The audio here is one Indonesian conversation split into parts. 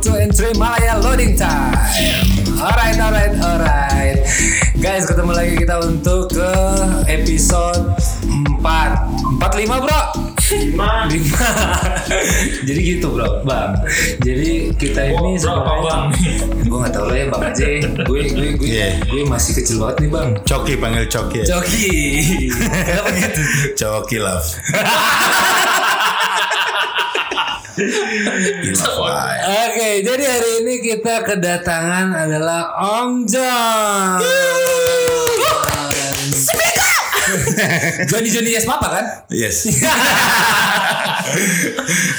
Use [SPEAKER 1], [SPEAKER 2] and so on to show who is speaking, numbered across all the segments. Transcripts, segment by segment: [SPEAKER 1] two, and three Malaya Loading Time. Alright, alright, alright. Guys, ketemu lagi kita untuk ke episode 4 45 bro 5 Jadi gitu bro, bang Jadi kita ini
[SPEAKER 2] Bro, apa bang?
[SPEAKER 1] Gue gak tau lo ya bang aja Gue gue gue,
[SPEAKER 3] Iya.
[SPEAKER 1] gue masih kecil banget nih bang
[SPEAKER 3] Coki panggil Coki. ya?
[SPEAKER 1] Coki Kenapa gitu?
[SPEAKER 3] Coki love. You love life.
[SPEAKER 1] Oke, jadi hari ini kita kedatangan adalah Om John. Joni Joni Yes Papa kan?
[SPEAKER 3] Yes.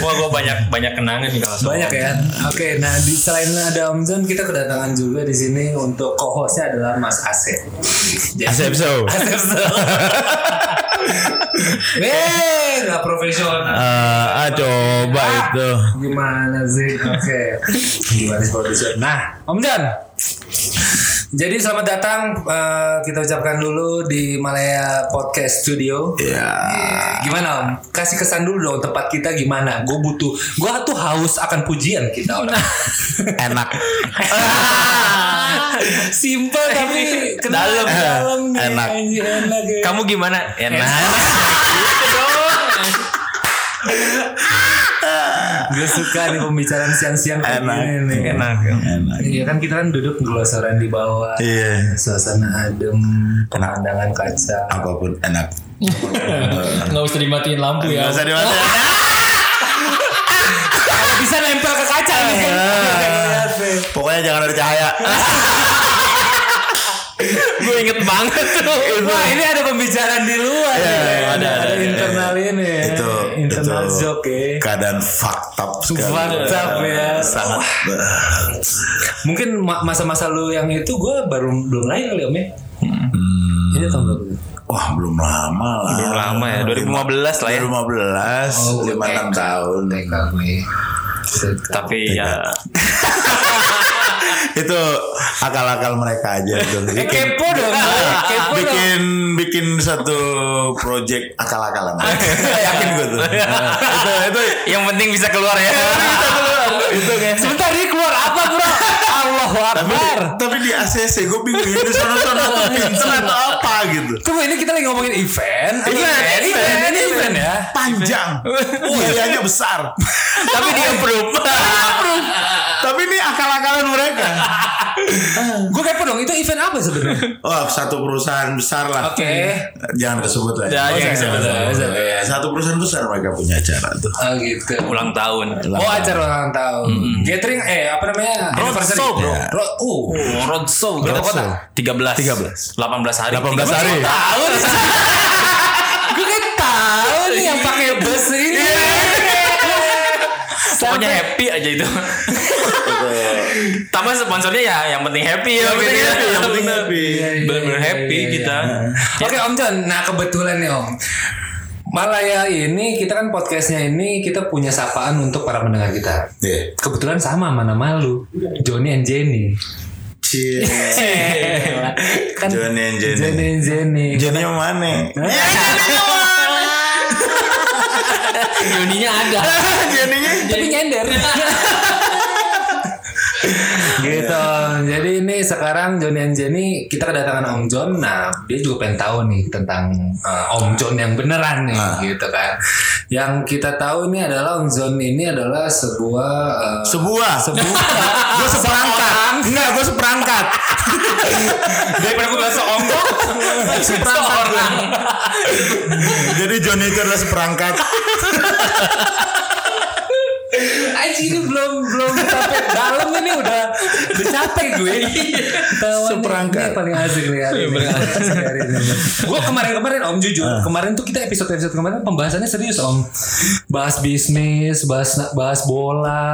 [SPEAKER 2] Wah, gue banyak banyak kenangan nih kalau sama
[SPEAKER 1] Banyak
[SPEAKER 2] Om.
[SPEAKER 1] ya. Oke, nah di selain ada Om John, kita kedatangan juga di sini untuk co-hostnya adalah Mas Asep.
[SPEAKER 3] Asep so.
[SPEAKER 1] Asep. Weh, nggak profesional.
[SPEAKER 3] Eh, ah coba itu.
[SPEAKER 1] Gimana sih? Oke. Gimana sih produser? Nah, Om Jan. Jadi selamat datang eh, kita ucapkan dulu di Malaya Podcast Studio.
[SPEAKER 3] Ya.
[SPEAKER 1] Gimana Om? Kasih kesan dulu dong tempat kita gimana? Gue butuh, gue tuh haus akan pujian kita orang.
[SPEAKER 3] Enak.
[SPEAKER 1] Simple tapi
[SPEAKER 2] Dalam.
[SPEAKER 1] dalam nih.
[SPEAKER 3] Enak.
[SPEAKER 1] Anjir, enak ya.
[SPEAKER 2] Kamu gimana? Enak.
[SPEAKER 1] Gue suka nih pembicaraan siang-siang kayak
[SPEAKER 3] Enak.
[SPEAKER 1] gini nih.
[SPEAKER 2] Enak.
[SPEAKER 3] Enak.
[SPEAKER 1] Iya kan kita kan duduk gelosoran di bawah.
[SPEAKER 3] Iya.
[SPEAKER 1] Suasana adem, pemandangan kaca.
[SPEAKER 3] Apapun enak.
[SPEAKER 2] Enggak usah dimatiin lampu
[SPEAKER 3] Gak
[SPEAKER 1] ya.
[SPEAKER 3] usah dimatiin.
[SPEAKER 1] Bisa nempel ke kaca nih.
[SPEAKER 3] Iya. Pokoknya jangan ada cahaya.
[SPEAKER 2] Gue inget banget tuh.
[SPEAKER 1] Wah ini ada pembicaraan di luar. nih.
[SPEAKER 3] Iya, ada, ada,
[SPEAKER 1] ada
[SPEAKER 3] ada.
[SPEAKER 1] internal ini. ya.
[SPEAKER 3] itu
[SPEAKER 1] internal
[SPEAKER 3] itu
[SPEAKER 1] joke ya.
[SPEAKER 3] keadaan fucked up sekali.
[SPEAKER 1] Fucked up ya.
[SPEAKER 3] Sangat.
[SPEAKER 1] Mungkin ma- masa-masa lu yang itu gue baru belum lahir kali om ya.
[SPEAKER 3] Hmm.
[SPEAKER 1] Ini tahun berapa?
[SPEAKER 3] Wah belum lama lah.
[SPEAKER 2] Belum lama ya, 2015 lah ya.
[SPEAKER 3] 2015, lima enam tahun.
[SPEAKER 1] TK gue.
[SPEAKER 2] Tapi ya
[SPEAKER 3] itu akal-akal mereka aja tuh.
[SPEAKER 1] Eh,
[SPEAKER 3] Bikin,
[SPEAKER 1] kepo dong, gue. kepo dong.
[SPEAKER 3] bikin bikin satu project akal-akalan. Yakin gue tuh. Nah, itu itu
[SPEAKER 2] yang penting bisa keluar ya.
[SPEAKER 3] itu kayak
[SPEAKER 1] Sebentar ini keluar apa bro? Allahu
[SPEAKER 3] tapi
[SPEAKER 1] Akbar.
[SPEAKER 3] tapi di ACC gue bingung ini sono sono atau pinter atau apa gitu.
[SPEAKER 1] Tunggu ini kita lagi ngomongin event. Event, event, ini event ya.
[SPEAKER 3] Panjang, biayanya besar.
[SPEAKER 2] Tapi dia approve.
[SPEAKER 3] tapi ini akal-akalan mereka.
[SPEAKER 1] Gue kepo dong, itu event apa sebenarnya?
[SPEAKER 3] Oh, satu perusahaan besar lah.
[SPEAKER 1] Oke.
[SPEAKER 3] Jangan kesebut lah.
[SPEAKER 2] Ya, jangan
[SPEAKER 3] jangan
[SPEAKER 2] kesebut,
[SPEAKER 3] kesebut.
[SPEAKER 1] jangan kesebut.
[SPEAKER 3] Ya, Satu perusahaan besar mereka punya acara tuh.
[SPEAKER 1] Oh gitu.
[SPEAKER 2] Ulang tahun.
[SPEAKER 1] Oh acara ulang tahun. Gathering eh apa namanya? Anniversary.
[SPEAKER 2] Roadshow, bro.
[SPEAKER 1] Ya. Ro- uh.
[SPEAKER 2] Roadshow berapa
[SPEAKER 3] Roadshow.
[SPEAKER 2] kota? 13
[SPEAKER 3] 13.
[SPEAKER 2] 18 hari
[SPEAKER 3] 18 hari.
[SPEAKER 2] tahun
[SPEAKER 1] Gue kan tahu nih yang pakai bus ini.
[SPEAKER 2] Pokoknya
[SPEAKER 1] Sampai-
[SPEAKER 2] happy aja itu Tambah sponsornya ya Yang penting happy ya
[SPEAKER 3] Yang penting happy, yang penting happy.
[SPEAKER 2] Bener-bener happy
[SPEAKER 1] Iya, iya,
[SPEAKER 2] kita
[SPEAKER 1] Oke Om John, nah kebetulan nih Om. Malaya ini kita kan podcastnya ini kita punya sapaan untuk para pendengar kita.
[SPEAKER 3] Iya.
[SPEAKER 1] Kebetulan sama mana malu, Johnny and Jenny.
[SPEAKER 3] Cie.
[SPEAKER 1] kan
[SPEAKER 3] Johnny and Jenny.
[SPEAKER 1] Johnny and Jenny.
[SPEAKER 3] Jadi yang mana?
[SPEAKER 2] Joninya ada
[SPEAKER 3] Jadinya
[SPEAKER 1] Tapi nyender. gitu. Jadi ini sekarang Johnny and Jenny kita kedatangan Om John. Nah, dia juga pengen tahu nih tentang eh, Om John yang beneran nih gitu kan. Yang kita tahu nih adalah Om John ini adalah sebuah eh,
[SPEAKER 3] sebuah.
[SPEAKER 1] sebuah
[SPEAKER 3] Gue seperangkat. Enggak, gue seperangkat.
[SPEAKER 2] Daripada gue bilang seonggok Seorang
[SPEAKER 3] Jadi Johnny itu adalah seperangkat.
[SPEAKER 1] Aji ini belum belum sampai dalam ini udah udah capek gue. Tawan
[SPEAKER 3] Seperangkat.
[SPEAKER 1] ini paling asik nih hari ini. Asik hari ini. Gue kemarin-kemarin Om jujur,
[SPEAKER 3] Ah.
[SPEAKER 1] kemarin tuh kita episode-episode kemarin pembahasannya serius Om. Bahas bisnis, bahas bahas
[SPEAKER 3] Ah.
[SPEAKER 1] bola.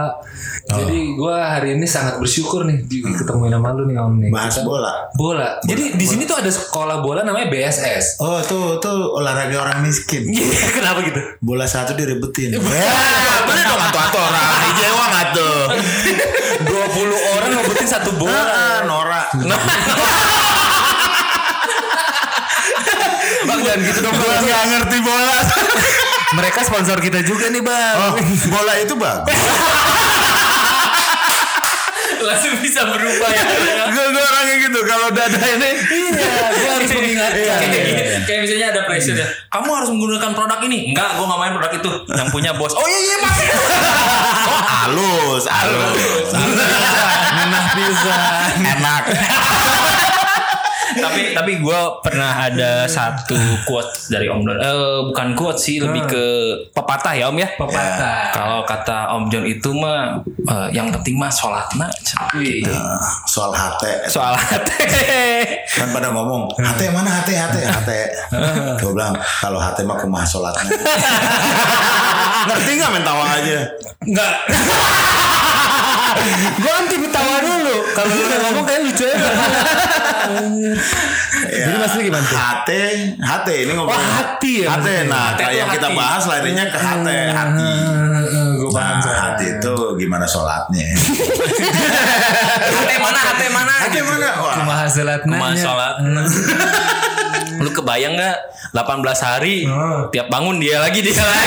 [SPEAKER 1] Jadi gue hari ini sangat bersyukur nih di- ketemuin sama lu nih Om nih.
[SPEAKER 3] Hmm. Bahas
[SPEAKER 1] Kita-
[SPEAKER 3] bola.
[SPEAKER 1] bola. Jadi di sini tuh ada sekolah bola namanya BSS.
[SPEAKER 3] Oh tuh tuh olahraga orang miskin.
[SPEAKER 1] Kenapa gitu?
[SPEAKER 3] Bola satu direbutin. Ya, bener dong atuh atuh orang Ijewa atuh.
[SPEAKER 1] 20 orang ngebutin satu bola.
[SPEAKER 3] Ah, Nora.
[SPEAKER 1] Bang jangan gitu dong.
[SPEAKER 3] Gue
[SPEAKER 1] Bang.
[SPEAKER 3] nggak ngerti bola.
[SPEAKER 1] Oh, Mereka sponsor kita juga nih Bang.
[SPEAKER 3] Oh, bola itu bagus.
[SPEAKER 2] langsung bisa berubah ya.
[SPEAKER 3] gue gue orangnya gitu kalau dada ini
[SPEAKER 1] Iya, gue harus mengingatkan.
[SPEAKER 2] Kayak-
[SPEAKER 1] Iya, iya, iya.
[SPEAKER 2] kayak- Kayak misalnya ada pressure ya. Kamu harus menggunakan produk ini. Enggak, gue nggak main produk itu. Yang punya bos. Oh iya iya pakai.
[SPEAKER 3] oh, halus halus
[SPEAKER 4] Nah, bisa.
[SPEAKER 3] enak
[SPEAKER 2] tapi tapi gue pernah ada satu quote dari Om Don. Eh, bukan quote sih, lebih ke pepatah ya Om ya.
[SPEAKER 1] Pepatah.
[SPEAKER 2] Kalau kata Om John itu mah eh, yang penting mah sholatna. Gitu.
[SPEAKER 3] soal hati
[SPEAKER 2] Soal hati.
[SPEAKER 3] kan pada ngomong hati mana hati hati hati gue bilang kalau hati mah kumaha sholatnya ngerti nggak main tawa aja
[SPEAKER 1] Enggak.
[SPEAKER 4] Gue kan tipe tawa dulu. Kalau lu udah ngomong kayak lucu aja.
[SPEAKER 3] Ya,
[SPEAKER 4] Jadi maksudnya gimana tuh?
[SPEAKER 3] hati hati ini ngomong
[SPEAKER 4] Oh, hati ya
[SPEAKER 3] hati
[SPEAKER 4] maksudnya.
[SPEAKER 3] nah
[SPEAKER 2] Hati
[SPEAKER 3] kayak
[SPEAKER 2] itu
[SPEAKER 3] yang kita
[SPEAKER 2] hati.
[SPEAKER 3] bahas larinya ke hati
[SPEAKER 1] Ah,
[SPEAKER 3] hati
[SPEAKER 1] Gue
[SPEAKER 3] nah,
[SPEAKER 1] paham sekarang.
[SPEAKER 3] hati itu gimana sholatnya
[SPEAKER 2] Hati mana? Hati mana?
[SPEAKER 3] hati mana wah
[SPEAKER 1] Kumaha selatna.
[SPEAKER 2] Masalah.
[SPEAKER 1] Hmm.
[SPEAKER 2] Lu kebayang nggak 18 hari
[SPEAKER 1] Hmm.
[SPEAKER 2] tiap bangun dia lagi dia lagi.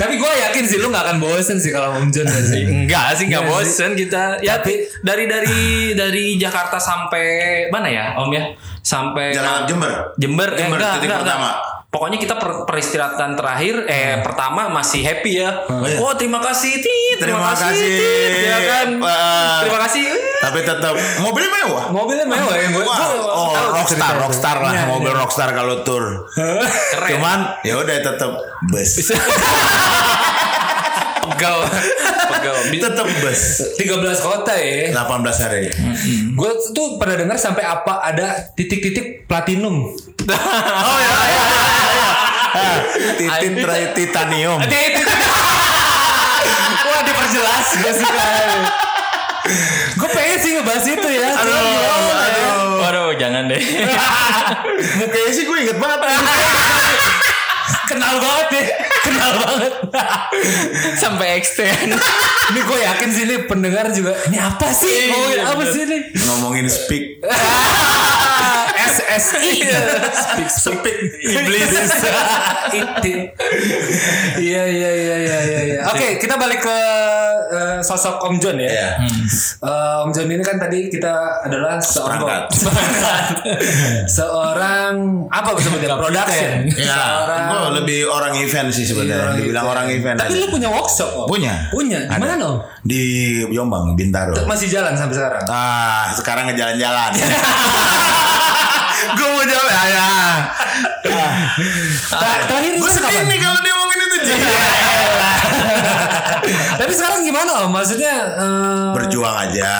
[SPEAKER 1] Tapi gue yakin sih lu gak akan bosen sih kalau Om John gak sih.
[SPEAKER 2] Enggak sih enggak
[SPEAKER 1] Iya
[SPEAKER 2] bosen kita. Ya dari dari dari Jakarta sampai mana ya Om ya? Sampai
[SPEAKER 3] jalan Jember
[SPEAKER 2] Jember, eh,
[SPEAKER 3] Jember,
[SPEAKER 2] enggak,
[SPEAKER 3] titik
[SPEAKER 2] enggak, enggak.
[SPEAKER 3] pertama.
[SPEAKER 2] Pokoknya kita per- peristirahatan terakhir eh pertama masih happy ya.
[SPEAKER 3] iya.
[SPEAKER 2] Oh, terima kasih Tit.
[SPEAKER 3] Terima
[SPEAKER 2] Terima, kasih.
[SPEAKER 3] kasih.
[SPEAKER 2] Tit. Ya kan?
[SPEAKER 3] Wah.
[SPEAKER 2] Terima kasih.
[SPEAKER 3] tapi tetap mobilnya mewah
[SPEAKER 1] Mobilnya mewah ya gue.
[SPEAKER 3] Wah, oh rockstar, rockstar lah,
[SPEAKER 1] Iya,
[SPEAKER 3] mobil rockstar kalau tour.
[SPEAKER 2] Keren.
[SPEAKER 3] Cuman ya udah tetap bus,
[SPEAKER 2] Pegel. Pegel.
[SPEAKER 3] tetap bus.
[SPEAKER 1] 13 kota ya.
[SPEAKER 3] 18 hari.
[SPEAKER 1] Gue tuh pernah dengar sampai apa ada titik-titik platinum.
[SPEAKER 2] oh ya.
[SPEAKER 3] Ah, Titin terakhir titanium.
[SPEAKER 1] Wah diperjelas gue suka. gue pengen sih ngebahas itu ya.
[SPEAKER 3] Aduh, aduh.
[SPEAKER 2] Waduh, jangan deh.
[SPEAKER 3] Mukanya sih gue inget banget.
[SPEAKER 1] Kenal banget deh. Kenal banget.
[SPEAKER 2] Sampai extend.
[SPEAKER 1] ini gue yakin sih ini pendengar juga. Ini apa sih?
[SPEAKER 2] Iya,
[SPEAKER 1] Ngomongin apa
[SPEAKER 2] bener.
[SPEAKER 1] sih ini?
[SPEAKER 3] Ngomongin speak.
[SPEAKER 1] SSI. Speak
[SPEAKER 3] Speak.
[SPEAKER 1] Iblis. Itin. Iya iya iya iya iya. iya. Oke, kita balik ke eh, sosok Om John ya.
[SPEAKER 3] Iya.
[SPEAKER 1] Eh, Om John ini kan tadi kita adalah seorang seorang apa sebutnya production.
[SPEAKER 3] Ya, gue
[SPEAKER 1] Seorang
[SPEAKER 3] lebih orang event sih
[SPEAKER 1] Iya,
[SPEAKER 3] sebenarnya.
[SPEAKER 1] orang
[SPEAKER 3] Dibilang
[SPEAKER 1] event.
[SPEAKER 3] orang event
[SPEAKER 1] Tapi
[SPEAKER 3] aja.
[SPEAKER 1] lu punya workshop Om?
[SPEAKER 3] Punya.
[SPEAKER 1] Punya. Di mana Om?
[SPEAKER 3] Di Jombang, Bintaro.
[SPEAKER 1] Masih jalan sampai sekarang.
[SPEAKER 3] Ah, sekarang ngejalan-jalan. gue mau jawab ya. ya.
[SPEAKER 1] Ter- Terakhir
[SPEAKER 3] Gue
[SPEAKER 1] itu
[SPEAKER 3] Ah. sedih
[SPEAKER 1] kapan?
[SPEAKER 3] nih kalau dia ngomongin itu. Ji.
[SPEAKER 1] Tapi sekarang gimana Om? Maksudnya eh,
[SPEAKER 3] Berjuang aja.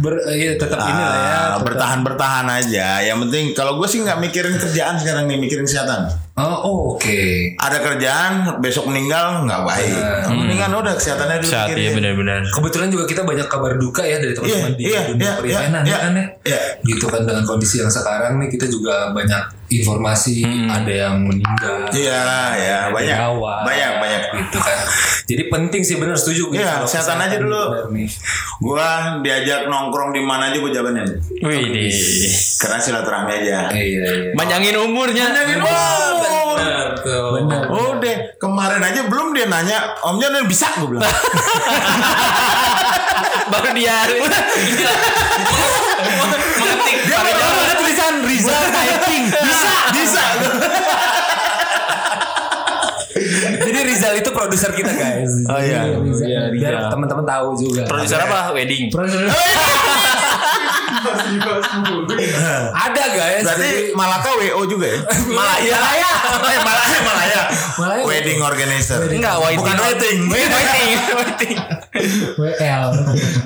[SPEAKER 1] ber, iya, tetap inilah ya.
[SPEAKER 3] Ah,
[SPEAKER 1] tetap-
[SPEAKER 3] bertahan bertahan aja. Yang penting kalau gue sih nggak mikirin kerjaan sekarang nih, mikirin kesehatan.
[SPEAKER 1] Oh, oh, oke.
[SPEAKER 3] Ada kerjaan besok meninggal nggak baik. Mendingan udah kesehatannya dulu
[SPEAKER 2] Saat
[SPEAKER 3] pikirin.
[SPEAKER 2] iya benar-benar.
[SPEAKER 1] Kebetulan juga kita banyak kabar duka ya dari teman-teman
[SPEAKER 3] Iya,
[SPEAKER 1] di
[SPEAKER 3] iya,
[SPEAKER 1] dunia
[SPEAKER 3] iya,
[SPEAKER 1] periwenan
[SPEAKER 3] iya,
[SPEAKER 1] ya kan ya.
[SPEAKER 3] iya.
[SPEAKER 1] Gitu kan dengan kondisi yang sekarang nih kita juga banyak informasi
[SPEAKER 3] Hmm.
[SPEAKER 1] ada yang meninggal.
[SPEAKER 3] Iya, ya banyak,
[SPEAKER 1] nyawa.
[SPEAKER 3] banyak, banyak.
[SPEAKER 1] Gitu kan. Jadi penting sih benar setuju gitu.
[SPEAKER 3] Iya,
[SPEAKER 1] kalau
[SPEAKER 3] kesehatan aja dulu.
[SPEAKER 1] benar nih.
[SPEAKER 3] Gue diajak nongkrong di mana aja gue jabanin.
[SPEAKER 2] Wih, deh.
[SPEAKER 3] Karena silaturahmi aja.
[SPEAKER 1] Iya, iya.
[SPEAKER 2] Manjangin umurnya.
[SPEAKER 3] Wow.
[SPEAKER 1] Benar.
[SPEAKER 3] Oh deh, kemarin aja belum dia nanya, omnya udah bisa gue bilang.
[SPEAKER 2] Baru dia. Iya. Mengetik.
[SPEAKER 1] Dia baru ada tulisan Rizal typing. Bisa.
[SPEAKER 3] bisa.
[SPEAKER 2] gitu.
[SPEAKER 1] Jadi Rizal itu produser kita guys.
[SPEAKER 3] Oh, iya.
[SPEAKER 1] Rizal.
[SPEAKER 2] Iya, Rizal.
[SPEAKER 1] Biar teman-teman tahu juga.
[SPEAKER 2] Produser apa? Wedding.
[SPEAKER 1] Produser. ada guys.
[SPEAKER 3] Berarti Malaka WO juga ya?
[SPEAKER 2] Malaya. Malaya.
[SPEAKER 3] Eh, Malaya, Malaya.
[SPEAKER 1] Malaya.
[SPEAKER 3] Wedding organizer.
[SPEAKER 2] Enggak, waiting.
[SPEAKER 3] Bukan waiting.
[SPEAKER 2] Waiting. Waiting.
[SPEAKER 1] WL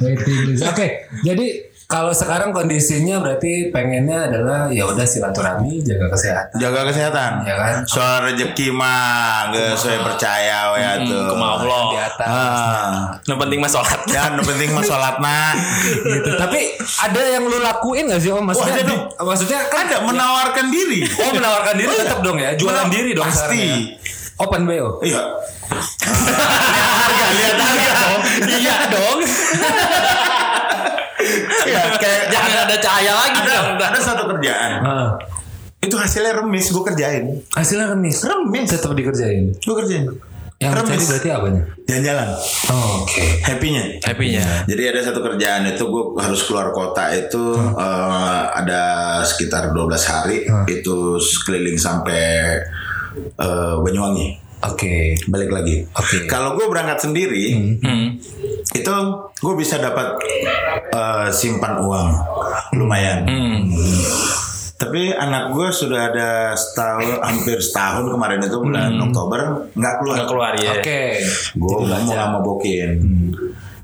[SPEAKER 1] waiting list. Oke, jadi kalau sekarang kondisinya berarti pengennya adalah ya udah silaturahmi, jaga kesehatan.
[SPEAKER 3] Jaga kesehatan.
[SPEAKER 1] Ya kan?
[SPEAKER 3] Soal rezeki mah geus saya percaya we atuh.
[SPEAKER 2] Kuma Allah.
[SPEAKER 3] Oh.
[SPEAKER 1] Di atas.
[SPEAKER 3] Ah.
[SPEAKER 2] Hmm, Yang penting mah sholat.
[SPEAKER 3] Dan yang penting mah salatna.
[SPEAKER 1] Gitu. Tapi ada yang lu lakuin gak sih Om? Maksudnya,
[SPEAKER 3] Wah, ada dong.
[SPEAKER 1] maksudnya kan
[SPEAKER 3] Ada menawarkan diri.
[SPEAKER 1] Oh menawarkan diri tetap dong ya, jualan
[SPEAKER 3] Menaw-
[SPEAKER 1] diri dong
[SPEAKER 3] pasti.
[SPEAKER 1] sekarang ya. Open BO.
[SPEAKER 3] Iya. Ah, Lihat harga dong.
[SPEAKER 2] Iya dong.
[SPEAKER 3] Iya, kayak
[SPEAKER 2] Jangan ada cahaya lagi
[SPEAKER 3] ada,
[SPEAKER 2] dong.
[SPEAKER 3] ada satu kerjaan.
[SPEAKER 1] Ah,
[SPEAKER 3] Itu hasilnya remis, gue kerjain.
[SPEAKER 1] hasilnya remis.
[SPEAKER 3] Remis.
[SPEAKER 1] Tetap dikerjain.
[SPEAKER 3] Gue kerjain.
[SPEAKER 1] Yang
[SPEAKER 3] Remis.
[SPEAKER 1] dicari berarti apanya?
[SPEAKER 3] Jalan-jalan.
[SPEAKER 1] Oh, Oke.
[SPEAKER 3] Happy-nya.
[SPEAKER 2] Happy-nya.
[SPEAKER 3] Jadi ada satu kerjaan itu gue harus keluar kota itu
[SPEAKER 2] Hmm.
[SPEAKER 3] eh, ada sekitar 12 hari itu keliling sampai eh, Banyuwangi
[SPEAKER 1] Oke.
[SPEAKER 3] balik lagi.
[SPEAKER 1] Oke.
[SPEAKER 3] Kalau gue berangkat sendiri
[SPEAKER 2] Hmm.
[SPEAKER 3] itu gue bisa dapat eh, simpan uang lumayan.
[SPEAKER 2] Hmm.
[SPEAKER 3] Tapi anak gue sudah ada setahun hampir setahun kemarin itu bulan Oktober nggak keluar.
[SPEAKER 2] Hmm. Nggak keluar
[SPEAKER 3] Iya.
[SPEAKER 2] ya.
[SPEAKER 1] Oke.
[SPEAKER 3] Gue mau lama bokin.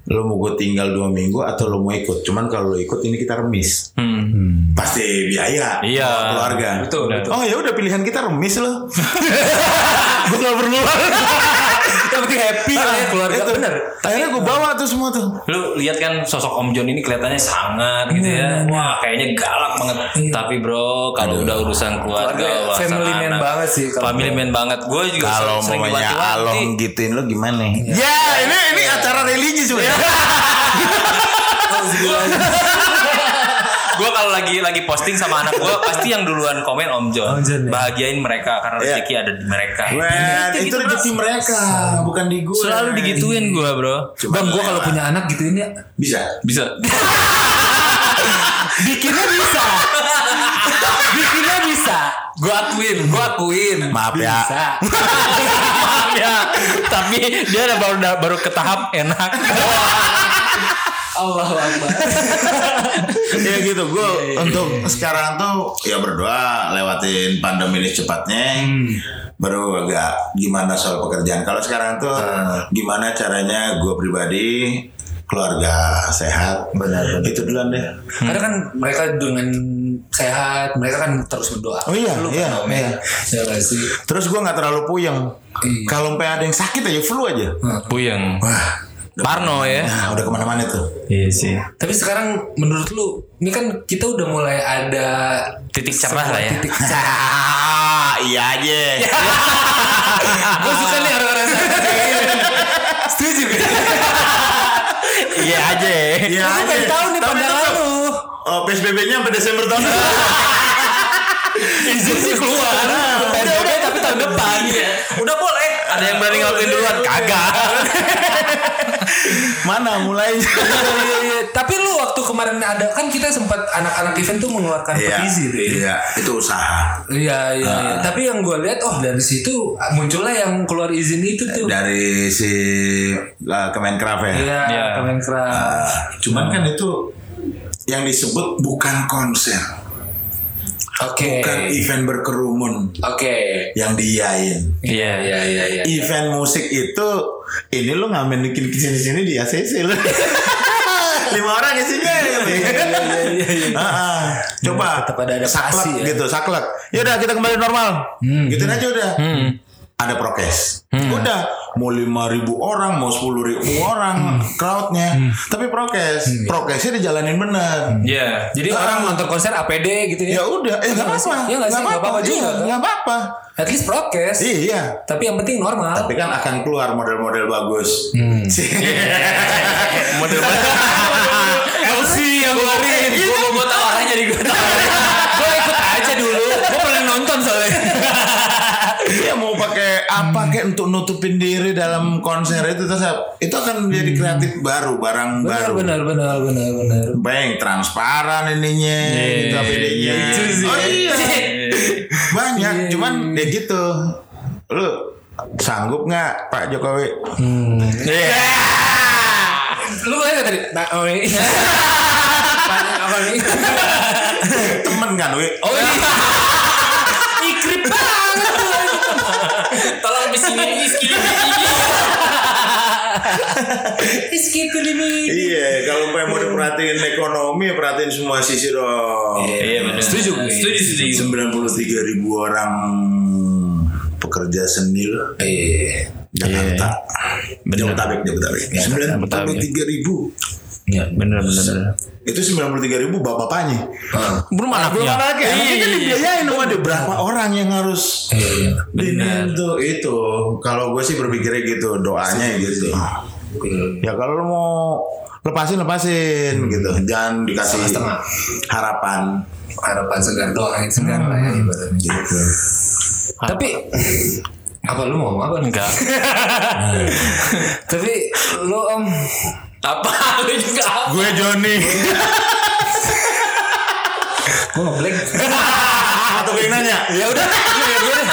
[SPEAKER 3] Lo mau gue tinggal dua minggu atau lo mau ikut? Cuman kalau lo ikut ini kita remis.
[SPEAKER 2] Hmm.
[SPEAKER 3] Pasti biaya.
[SPEAKER 2] Iya.
[SPEAKER 3] buat Keluarga.
[SPEAKER 1] Betul, betul.
[SPEAKER 3] Oh ya udah pilihan kita remis loh.
[SPEAKER 2] Gue gak perlu.
[SPEAKER 1] Yang penting happy lah ya keluarga.
[SPEAKER 3] Iya, Itu.
[SPEAKER 1] Bener.
[SPEAKER 3] Akhirnya gue bawa tuh semua tuh.
[SPEAKER 2] Lu lihat kan sosok Om John ini kelihatannya sangat gitu ya. Wah, kayaknya galak banget. Tapi bro, kalau udah urusan keluarga,
[SPEAKER 1] Keluarga,
[SPEAKER 2] urusan
[SPEAKER 1] family man
[SPEAKER 2] anak,
[SPEAKER 1] banget sih kalau-
[SPEAKER 2] Family man banget. Gue juga
[SPEAKER 3] Kalau
[SPEAKER 2] sering Iya,
[SPEAKER 3] mamanya
[SPEAKER 2] diwanti-wanti.
[SPEAKER 3] Along gituin lo gimana? Ya ini ini acara religi
[SPEAKER 2] Iya.
[SPEAKER 3] sebenarnya.
[SPEAKER 2] gue kalau lagi lagi posting sama anak gue pasti yang duluan komen Om John,
[SPEAKER 1] Om John, ya.
[SPEAKER 2] bahagiain mereka karena
[SPEAKER 3] Iya.
[SPEAKER 2] rezeki ada di mereka
[SPEAKER 3] Wen, itu rezeki mereka, bukan di gue.
[SPEAKER 2] selalu digituin gue bro
[SPEAKER 3] Cuma
[SPEAKER 1] Bang, gue kalau
[SPEAKER 3] lewat.
[SPEAKER 1] punya anak gitu ini
[SPEAKER 3] bisa.
[SPEAKER 2] bisa
[SPEAKER 1] bikinnya bisa. bikinnya bisa. Gue akuin, gue akuin.
[SPEAKER 3] Maaf ya.
[SPEAKER 1] Bisa.
[SPEAKER 2] ya tapi dia ada baru baru ke tahap enak
[SPEAKER 1] Allah Akbar.
[SPEAKER 3] ya gitu gue untuk sekarang tuh ya berdoa lewatin pandemi ini secepatnya baru agak gimana soal pekerjaan kalau sekarang tuh gimana caranya gue pribadi keluarga sehat benar itu duluan deh
[SPEAKER 1] Karena kan mereka dengan sehat, mereka kan terus berdoa.
[SPEAKER 3] Oh iya,
[SPEAKER 1] Lu
[SPEAKER 3] iya,
[SPEAKER 1] kan, Om,
[SPEAKER 3] iya.
[SPEAKER 1] ya. Ya nggak sih.
[SPEAKER 3] terus gue nggak terlalu puyeng
[SPEAKER 1] Iya.
[SPEAKER 3] kalau sampai ada yang sakit aja flu aja
[SPEAKER 2] puyeng
[SPEAKER 3] wah
[SPEAKER 2] Parno ya
[SPEAKER 3] nah udah kemana-mana tuh
[SPEAKER 2] iya sih
[SPEAKER 1] Tapi sekarang menurut lu, ini kan kita udah mulai ada
[SPEAKER 2] titik cerah lah ya
[SPEAKER 1] titik cerah.
[SPEAKER 3] ah iya aja
[SPEAKER 1] Gue suka nih orang-orang sana. Setuju gitu.
[SPEAKER 2] iya aja
[SPEAKER 3] iya
[SPEAKER 1] Aku pengen tahu nih
[SPEAKER 3] Tapi
[SPEAKER 1] pandangan
[SPEAKER 3] tetap,
[SPEAKER 1] lu.
[SPEAKER 3] oh, PSBB-nya sampai Desember tahun depan
[SPEAKER 2] izin sih keluar
[SPEAKER 1] Udah, udah, tapi tahun depan.
[SPEAKER 2] udah boleh ada yang berani ngakuin duluan
[SPEAKER 1] Iya,
[SPEAKER 2] kagak
[SPEAKER 3] mana mulainya
[SPEAKER 1] Iya, iya, iya. Tapi lu waktu kemarin ada kan kita sempat anak-anak event tuh mengeluarkan petisi tuh. ya.
[SPEAKER 3] Iya, itu usaha.
[SPEAKER 1] Iya iya.
[SPEAKER 3] Ah.
[SPEAKER 1] iya. Tapi yang gue lihat oh dari situ muncullah yang keluar izin itu tuh.
[SPEAKER 3] Dari si uh, Kemenkraf ya.
[SPEAKER 1] Iya
[SPEAKER 2] Iya.
[SPEAKER 1] Kemenkraf.
[SPEAKER 3] Cuman kan itu yang disebut bukan konser,
[SPEAKER 1] Oke
[SPEAKER 3] bukan event berkerumun
[SPEAKER 1] oke.
[SPEAKER 3] yang diiyain.
[SPEAKER 2] iya
[SPEAKER 1] Iya iya iya.
[SPEAKER 3] Event musik itu ini lo ngamen bikin kesini sini di ACC lo. lima orang isinya
[SPEAKER 1] Iya,
[SPEAKER 3] ya. Ah, ah. coba
[SPEAKER 1] tetap ada adaptasi ya.
[SPEAKER 3] saklek
[SPEAKER 1] Hmm,
[SPEAKER 3] gitu saklek yaudah kita kembali normal gitu aja udah ada prokes udah mau lima ribu orang mau sepuluh ribu
[SPEAKER 1] Hmm.
[SPEAKER 3] orang crowdnya tapi prokes prokesnya dijalanin bener
[SPEAKER 1] Hmm.
[SPEAKER 2] iya
[SPEAKER 1] Jadi
[SPEAKER 3] Ah.
[SPEAKER 1] orang nonton konser APD gitu ya.
[SPEAKER 3] ya udah eh nggak
[SPEAKER 1] nggak sih?
[SPEAKER 3] apa
[SPEAKER 1] Iya nggak sih? Nggak apa-apa juga, kan?
[SPEAKER 3] nggak apa-apa
[SPEAKER 1] At least prokes.
[SPEAKER 3] iya
[SPEAKER 1] Tapi yang penting normal. Hmm.
[SPEAKER 3] tapi kan akan keluar model-model bagus
[SPEAKER 2] model LC yang keluarin
[SPEAKER 3] kan
[SPEAKER 2] gue mau buat tawaran jadi gue gue ikut aja dulu gue pernah nonton soalnya
[SPEAKER 3] Iya mau pakai apa kayak untuk nutupin diri dalam konser itu terus itu akan menjadi kreatif baru barang
[SPEAKER 1] Benar
[SPEAKER 3] baru
[SPEAKER 1] benar benar benar benar.
[SPEAKER 3] Banyak transparan ininya gitu APD-nya. Oh iya. Banyak cuman ya gitu. Lu sanggup nggak Pak Jokowi?
[SPEAKER 2] Iya.
[SPEAKER 1] Lu boleh nggak tadi? Nah, oh iya. Banyak apa nih?
[SPEAKER 3] Temen kan we?
[SPEAKER 2] oh iya ikrip banget tolong di sini di sini
[SPEAKER 1] Skip ini.
[SPEAKER 3] Iya, kalau pengen mau diperhatiin ekonomi, perhatiin semua sisi dong.
[SPEAKER 2] iya benar setuju setuju setuju
[SPEAKER 3] 93 ribu orang pekerja seni loh.
[SPEAKER 1] Iya.
[SPEAKER 3] Jakarta. Jabodetabek, Jabodetabek. 93 ribu.
[SPEAKER 1] Iya.
[SPEAKER 2] bener bener
[SPEAKER 3] Itu 93 ribu bapak-bapaknya.
[SPEAKER 2] belum Iya.
[SPEAKER 3] Belum
[SPEAKER 2] anaknya
[SPEAKER 3] anaknya. Anaknya kan dibiayain sama dia. Berapa orang yang harus
[SPEAKER 1] Iya.
[SPEAKER 3] Benar. Itu, itu. Kalau gue sih berpikirnya gitu, doanya gitu. Ya kalau lo mau lepasin lepasin gitu, jangan dikasih
[SPEAKER 1] Setengah-setengah.
[SPEAKER 3] harapan.
[SPEAKER 1] ya, Hmm. harapan segar doa yang segar lah ya ibaratnya.
[SPEAKER 3] Gitu.
[SPEAKER 1] Tapi Apa lu mau ngomong apa? lu?
[SPEAKER 2] Enggak.
[SPEAKER 1] Tapi lu om
[SPEAKER 2] Apa? Lu juga apa?
[SPEAKER 4] Gue Joni.
[SPEAKER 1] Gue ngeblank
[SPEAKER 3] Atau pengen nanya?
[SPEAKER 1] Ya udah lu lihat gua deh.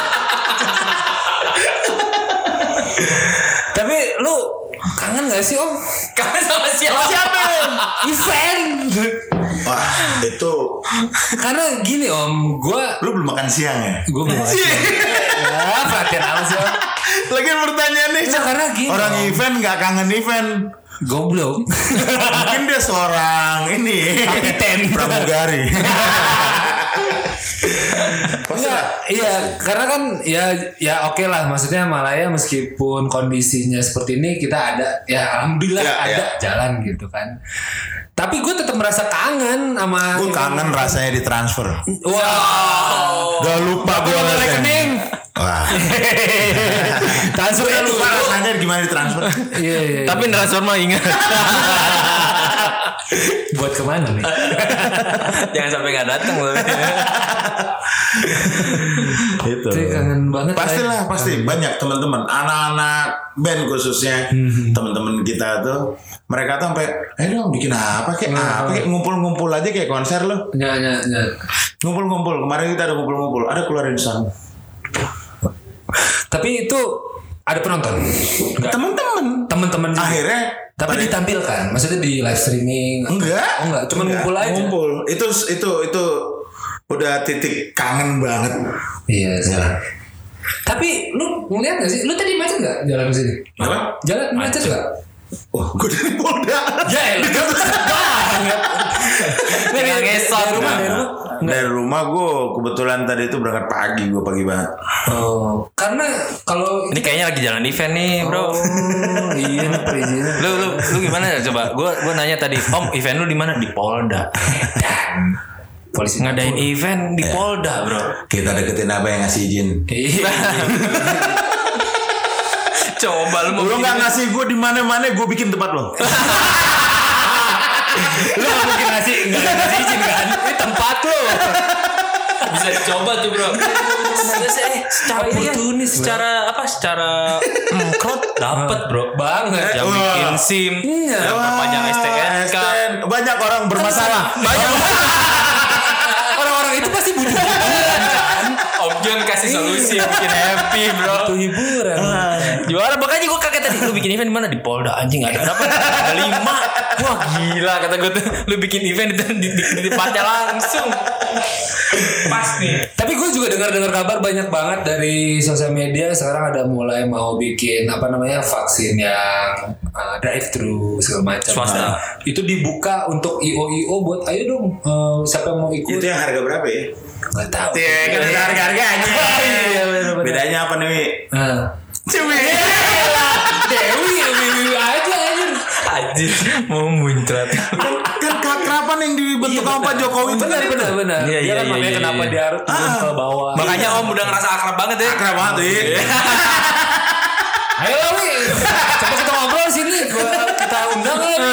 [SPEAKER 1] Tapi lu kangen gak sih om?
[SPEAKER 2] Kamu sama
[SPEAKER 1] Ya,
[SPEAKER 2] siapa?
[SPEAKER 1] Event
[SPEAKER 3] Wah, itu
[SPEAKER 1] Karena gini om Gue
[SPEAKER 3] lu belum makan siang ya?
[SPEAKER 1] Gue mau ngasih Ya perhatian apa sih om
[SPEAKER 3] Lagi pertanyaan nih.
[SPEAKER 1] Enggak, karena gini
[SPEAKER 3] Orang
[SPEAKER 1] Om.
[SPEAKER 3] event nggak kangen event.
[SPEAKER 1] Goblok
[SPEAKER 3] Mungkin dia seorang ini
[SPEAKER 1] Kapiten
[SPEAKER 3] pramugari.
[SPEAKER 1] Iya, iya, karena kan ya ya oke lah maksudnya Malaya meskipun kondisinya seperti ini kita ada ya alhamdulillah
[SPEAKER 3] Ya,
[SPEAKER 1] ada jalan gitu kan. Tapi gue tetap merasa kangen sama
[SPEAKER 3] Gue kangen rasanya ditransfer.
[SPEAKER 1] Wow.
[SPEAKER 3] Gak lupa gue
[SPEAKER 1] Nomor
[SPEAKER 3] ngeliatnya.
[SPEAKER 1] Oh. rekening.
[SPEAKER 3] Wah,
[SPEAKER 1] Transfernya
[SPEAKER 3] lupa rasanya gimana ditransfer?
[SPEAKER 1] Iya, iya. iya.
[SPEAKER 2] Tapi transfer mah ingat.
[SPEAKER 1] buat kemana nih?
[SPEAKER 2] Jangan sampai nggak datang loh.
[SPEAKER 3] Itu.
[SPEAKER 1] Tapi kangen banget. eh.
[SPEAKER 3] Pastilah
[SPEAKER 1] lah.
[SPEAKER 3] pasti banyak teman-teman anak-anak band khususnya
[SPEAKER 1] Hmm.
[SPEAKER 3] teman-teman kita tuh mereka tuh sampai eh dong bikin apa kayak
[SPEAKER 1] Nah.
[SPEAKER 3] apa kayak ngumpul-ngumpul aja kayak konser loh
[SPEAKER 1] Ya, ya, ya.
[SPEAKER 3] ngumpul-ngumpul kemarin kita ada ngumpul-ngumpul ada keluarin sound
[SPEAKER 1] Tapi itu ada penonton. Enggak.
[SPEAKER 3] temen-temen
[SPEAKER 1] Teman-teman juga.
[SPEAKER 3] akhirnya
[SPEAKER 1] Tapi
[SPEAKER 3] pada-
[SPEAKER 1] ditampilkan, maksudnya di live streaming.
[SPEAKER 3] enggak
[SPEAKER 1] Oh, enggak, cuman
[SPEAKER 3] Enggak,
[SPEAKER 1] ngumpul aja.
[SPEAKER 3] ngumpul itu itu itu udah titik kangen banget
[SPEAKER 1] Iya sih. Tapi lu ngeliat gak sih? Lu tadi macet gak jalan ke sini?
[SPEAKER 3] apa Oh,
[SPEAKER 1] Jalan macet gak?
[SPEAKER 3] wah gue dari Polda
[SPEAKER 1] Ya elah, banget. Dari
[SPEAKER 2] Jangan ngesot.
[SPEAKER 1] dari rumah, dari rumah.
[SPEAKER 3] dari rumah gue kebetulan tadi itu berangkat pagi gue pagi banget
[SPEAKER 1] Oh, karena kalau
[SPEAKER 2] Ini kayaknya lagi jalan event nih, bro.
[SPEAKER 1] Oh, iya nih perizinan.
[SPEAKER 2] Lu lu lu gimana coba? Gua gua nanya tadi, "Om, event lu di mana?" Di Polda.
[SPEAKER 1] Polisi
[SPEAKER 2] Ngadain event di Polda, bro.
[SPEAKER 3] kita deketin apa yang ngasih izin
[SPEAKER 1] Iya.
[SPEAKER 2] Coba lu mau
[SPEAKER 3] Lu nggak ngasih gue di mana mana gue bikin tempat lo.
[SPEAKER 1] Lu gak mungkin ngasih enggak ngasih izin kan? Ini tempat lu.
[SPEAKER 2] bisa dicoba tuh, bro. secara ini kan,
[SPEAKER 1] Oportunis, bro.
[SPEAKER 2] secara apa? Secara mengkrot dapat, bro.
[SPEAKER 1] Banget.
[SPEAKER 2] Yang
[SPEAKER 3] Wah.
[SPEAKER 2] bikin SIM,
[SPEAKER 1] Iya.
[SPEAKER 2] yang perpanjang
[SPEAKER 3] Ah,
[SPEAKER 2] STNK.
[SPEAKER 3] STN. Banyak orang bermasalah.
[SPEAKER 2] Banyak
[SPEAKER 1] Orang-orang itu pasti butuh hiburan kan?
[SPEAKER 2] Om John kasih solusi bikin happy, bro.
[SPEAKER 1] Butuh hiburan.
[SPEAKER 2] Juara makanya gue kaget tadi lu bikin event di mana di Polda anjing ada berapa? Ada lima. Wah gila kata gue tuh lu bikin event di di, di, di tempatnya langsung. Pas nih.
[SPEAKER 1] Tapi gue juga dengar-dengar kabar banyak banget dari sosial media sekarang ada mulai mau bikin apa namanya vaksin yang uh, drive thru segala macam.
[SPEAKER 2] Swasta.
[SPEAKER 1] Nah, itu dibuka untuk IO IO buat ayo dong uh, siapa yang mau ikut?
[SPEAKER 3] Itu yang harga berapa ya?
[SPEAKER 1] Gak tahu.
[SPEAKER 3] Iya, kan harga harganya.
[SPEAKER 1] Iya, bener-bener.
[SPEAKER 3] Bedanya apa nih? Wi?
[SPEAKER 1] Nah,
[SPEAKER 3] Cumi.
[SPEAKER 1] Dewi, ya, Dewi, Dewi aja anjir.
[SPEAKER 2] Anjir mau muncrat.
[SPEAKER 3] Kan kekerapan yang dibentuk sama Pak Jokowi itu
[SPEAKER 1] Benar,
[SPEAKER 3] kan
[SPEAKER 1] benar, benar. Dia
[SPEAKER 2] Iya, iya,
[SPEAKER 1] kan
[SPEAKER 2] iya,
[SPEAKER 1] makanya
[SPEAKER 2] iya,
[SPEAKER 1] kenapa
[SPEAKER 2] iya.
[SPEAKER 1] dia harus
[SPEAKER 3] Ah.
[SPEAKER 1] turun ke bawah.
[SPEAKER 2] Makanya Om udah ngerasa akrab banget ya.
[SPEAKER 3] Akrab banget Wi.
[SPEAKER 1] Ayo lah, Wi. Coba kita ngobrol sini. Gua, kita undang lagi.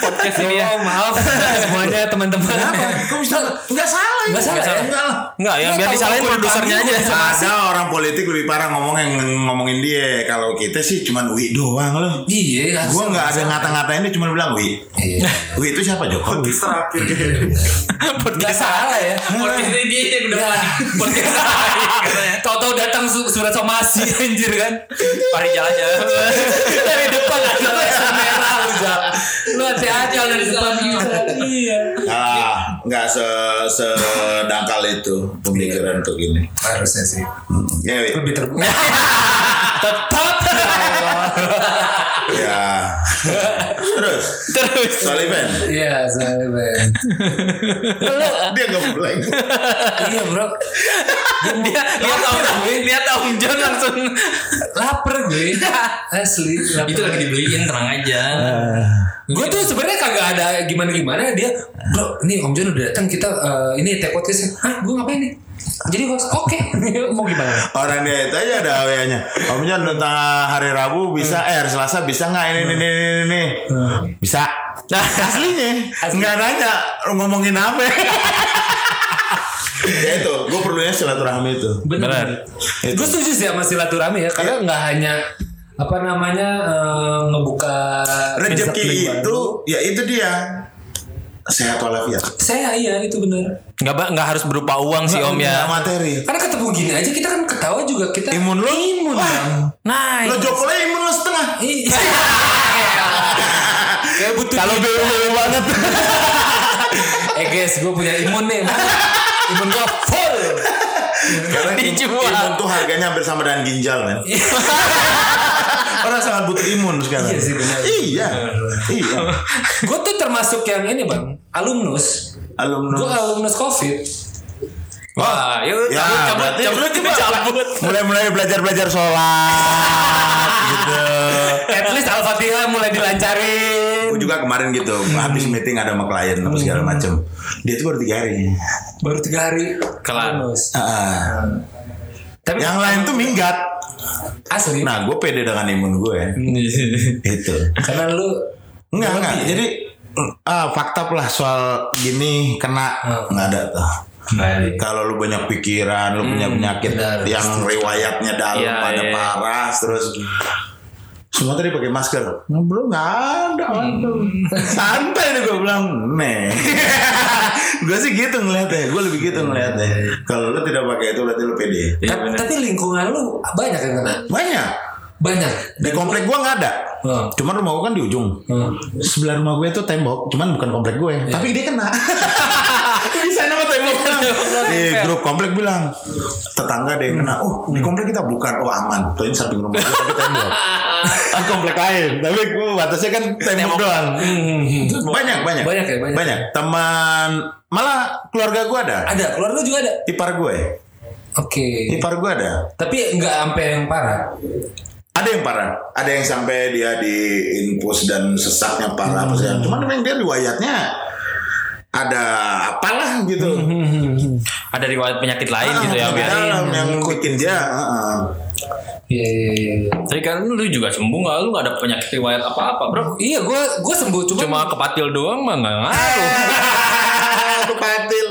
[SPEAKER 2] Podcast ini ya.
[SPEAKER 1] Oh, maaf semuanya teman-teman.
[SPEAKER 3] Kenapa? Kok bisa? Enggak salah ini.
[SPEAKER 1] Nggak salah ya?
[SPEAKER 3] Enggak lah.
[SPEAKER 2] Enggak, yang biar
[SPEAKER 1] Tahu
[SPEAKER 2] disalahin
[SPEAKER 1] aku
[SPEAKER 2] produsernya aja.
[SPEAKER 1] dipanggil, gua
[SPEAKER 3] Ada orang politik lebih parah ngomong yang ngomongin dia. Kalau kita sih cuman Wi doang loh.
[SPEAKER 1] Iya,
[SPEAKER 3] Gue nggak ada ngata-ngatain dia cuma bilang Wi.
[SPEAKER 1] Iya.
[SPEAKER 3] Wi itu siapa Jokowi?
[SPEAKER 1] Gak salah ya.
[SPEAKER 2] Podcast ini dia yang udah panik. Podcast katanya.
[SPEAKER 1] Toto datang su- surat somasi anjir kan.
[SPEAKER 2] Pari jalan-jalan.
[SPEAKER 1] Dari depan ada lesnya merah lu Jal. Lu hati-hati kalau dari depan juga. Iya.
[SPEAKER 3] Ah, nggak se sedangkal itu pemikiran tuh gini.
[SPEAKER 1] Harusnya sih.
[SPEAKER 3] Ya, Wi.
[SPEAKER 1] Lebih terbuka. Tetap.
[SPEAKER 3] ya. Terus,
[SPEAKER 2] Terus
[SPEAKER 3] soal event,
[SPEAKER 1] Iya, soalnya Ben.
[SPEAKER 3] dia nggak boleh.
[SPEAKER 1] Iya bro.
[SPEAKER 2] dia lihat Om lihat Om John langsung
[SPEAKER 1] Laper gue. Asli. laper.
[SPEAKER 2] itu lagi dibeliin tenang aja.
[SPEAKER 1] Gue tuh sebenarnya kagak ada gimana-gimana dia. Bro, nih Om John udah datang kita eh, ini take podcast. Hah, gue ngapain nih? Jadi host, oke. Mau gimana?
[SPEAKER 3] Orang dia itu aja ada WA-nya. Om John tentang hari Rabu bisa, eh hari Selasa bisa nggak ini ini ini ini, ini. Bisa. Nah, aslinya nggak nanya ngomongin apa. ya itu gue perlunya silaturahmi itu
[SPEAKER 2] Bener.
[SPEAKER 3] Itu. Iya.
[SPEAKER 1] Gue setuju sih sama silaturahmi ya karena nggak hanya apa namanya eh, ngebuka
[SPEAKER 3] rezeki
[SPEAKER 1] pintu
[SPEAKER 3] itu ya itu dia sehat walafiat
[SPEAKER 1] saya iya itu bener
[SPEAKER 2] Nggak ba- nggak harus berupa uang sih om
[SPEAKER 3] Nggak
[SPEAKER 2] ya.
[SPEAKER 3] materi
[SPEAKER 1] karena ketemu gini aja kita kan ketawa juga kita
[SPEAKER 3] imun lo imun
[SPEAKER 2] Nah,
[SPEAKER 3] lo jokolah imun lo setengah
[SPEAKER 1] Iya. Kayak butuh
[SPEAKER 2] kalau BU banget.
[SPEAKER 1] Eh guys, gue punya imun nih. Imun gue full.
[SPEAKER 3] karena
[SPEAKER 2] Dijual.
[SPEAKER 3] imun imun tuh harganya hampir sama dengan ginjal kan orang sangat butuh imun sekarang
[SPEAKER 1] Iya sih, benar.
[SPEAKER 3] iya iya
[SPEAKER 1] gue tuh termasuk yang ini bang, alumnus. Gue
[SPEAKER 3] alumnus
[SPEAKER 1] alumnus covid.
[SPEAKER 2] Wah, yuk
[SPEAKER 3] Ya,
[SPEAKER 2] cabut, cabut,
[SPEAKER 3] berarti
[SPEAKER 2] cabut,
[SPEAKER 3] lu
[SPEAKER 2] cabut, cabut.
[SPEAKER 3] mulai-mulai belajar-belajar sholat gitu
[SPEAKER 1] At least al-fatihah mulai dilancarin.
[SPEAKER 3] Gue juga kemarin gitu habis
[SPEAKER 1] Hmm.
[SPEAKER 3] meeting ada sama klien apa segala macem dia tuh baru tiga hari
[SPEAKER 1] Baru tiga hari
[SPEAKER 2] Kelar.
[SPEAKER 1] alumnus.
[SPEAKER 3] Ah,
[SPEAKER 1] Tapi
[SPEAKER 3] yang lain tuh minggat
[SPEAKER 1] asli.
[SPEAKER 3] nah gue pede dengan imun ya. Gitu. gue
[SPEAKER 1] Hmm.
[SPEAKER 3] itu
[SPEAKER 1] Karena lu
[SPEAKER 3] enggak enggak
[SPEAKER 2] ya?
[SPEAKER 3] jadi ah, fakta lah soal gini kena
[SPEAKER 2] Hmm.
[SPEAKER 3] nggak ada tuh
[SPEAKER 2] Nah,
[SPEAKER 3] kalau lu banyak pikiran, lu punya penyakit yang riwayatnya dalam
[SPEAKER 2] Hmm, Iya,
[SPEAKER 3] pada
[SPEAKER 2] iya.
[SPEAKER 3] parah, terus semua tadi pakai masker. Nah, bro nggak ada,
[SPEAKER 2] Hmm.
[SPEAKER 3] aduh. santai deh gue bilang, nih. gue sih gitu ngeliatnya, gue lebih gitu ngeliatnya. Kalau lu tidak pakai itu berarti lu pede.
[SPEAKER 2] Iya,
[SPEAKER 1] Ta-
[SPEAKER 2] bener.
[SPEAKER 1] kan, tapi lingkungan lu banyak yang kena.
[SPEAKER 3] Banyak
[SPEAKER 1] Banyak.
[SPEAKER 3] di komplek gue nggak ada.
[SPEAKER 1] Hmm.
[SPEAKER 2] Oh.
[SPEAKER 3] Cuman rumah gue kan di ujung.
[SPEAKER 1] Hmm.
[SPEAKER 3] Sebelah rumah gue tuh tembok, cuman bukan komplek gue,
[SPEAKER 1] Iya.
[SPEAKER 3] tapi dia kena. di sana mah tembok kena.
[SPEAKER 1] Iya,
[SPEAKER 3] Di grup komplek bilang tetangga ada yang kena. Oh, di komplek kita bukan. Oh, aman. Tuh ini samping rumah gue tapi tembok. Kan komplek lain, tapi gue batasnya kan tembok, doang. Banyak, banyak.
[SPEAKER 1] Banyak ya, banyak.
[SPEAKER 3] Teman malah keluarga gue ada.
[SPEAKER 1] Ada, Iya. keluarga juga ada.
[SPEAKER 3] Ipar gue,
[SPEAKER 1] Oke.
[SPEAKER 3] ipar gue ada.
[SPEAKER 1] Tapi nggak sampai yang parah.
[SPEAKER 3] Ada yang parah, ada yang sampai dia diinfus dan sesaknya parah apa segala. Cuman memang dia riwayatnya ada apalah gitu.
[SPEAKER 1] Hmm,
[SPEAKER 2] Ada riwayat penyakit Hmm, lain
[SPEAKER 3] Ah,
[SPEAKER 2] gitu ya, Om
[SPEAKER 3] penyakit
[SPEAKER 2] ya.
[SPEAKER 3] dalam yang bikin dia. ah,
[SPEAKER 1] Iya, iya, iya. iya.
[SPEAKER 2] Tapi kan lu juga sembuh nggak? Lu nggak ada penyakit riwayat apa-apa, bro?
[SPEAKER 1] Iya, gue gue sembuh cuma
[SPEAKER 2] Cuma kepatil doang mah nggak ngaruh.
[SPEAKER 3] ah. Aku patil.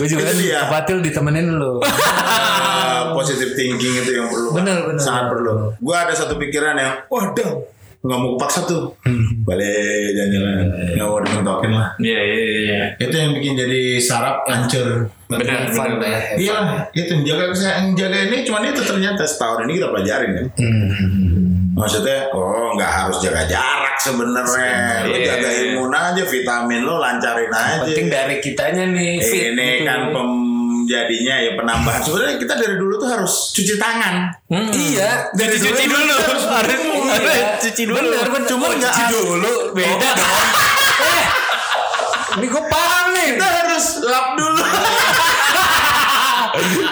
[SPEAKER 1] gue juga
[SPEAKER 3] Itu
[SPEAKER 1] kan
[SPEAKER 3] dia.
[SPEAKER 1] kepatil ditemenin lo.
[SPEAKER 3] Ah, Positive thinking itu yang perlu.
[SPEAKER 1] Bener, bener.
[SPEAKER 3] Sangat perlu. Gua ada satu pikiran yang, wah dong, nggak mau paksa tuh.
[SPEAKER 1] Hmm.
[SPEAKER 3] Balik jalan-jalan, nggak mau dimentokin lah.
[SPEAKER 2] Iya, iya, iya.
[SPEAKER 3] Itu yang bikin jadi sarap hancur.
[SPEAKER 2] Benar, benar, benar.
[SPEAKER 3] Iya, itu menjaga kesehatan jaga ini cuman itu ternyata setahun ini kita pelajarin ya.
[SPEAKER 1] Iya.
[SPEAKER 3] Maksudnya, oh nggak harus jaga jarak sebenarnya. Lu
[SPEAKER 2] Iya.
[SPEAKER 3] jaga imun aja, vitamin lo lancarin aja.
[SPEAKER 1] Penting dari kitanya nih. fit
[SPEAKER 3] ini
[SPEAKER 1] gitu.
[SPEAKER 3] kan pem jadinya ya penambahan. Sebenarnya kita dari dulu tuh harus cuci tangan.
[SPEAKER 1] Hmm. Iya, dari
[SPEAKER 2] Cuci-cuci
[SPEAKER 1] dulu. Iya.
[SPEAKER 2] dulu. Iya. Harus harus cuci dulu.
[SPEAKER 1] Bener, bener.
[SPEAKER 3] Cuman
[SPEAKER 1] Oh,
[SPEAKER 3] nggak
[SPEAKER 1] cuci
[SPEAKER 3] harus.
[SPEAKER 1] dulu.
[SPEAKER 2] Oh.
[SPEAKER 1] Beda dong. Eh, Ini gue paham nih.
[SPEAKER 3] Kita harus lap dulu.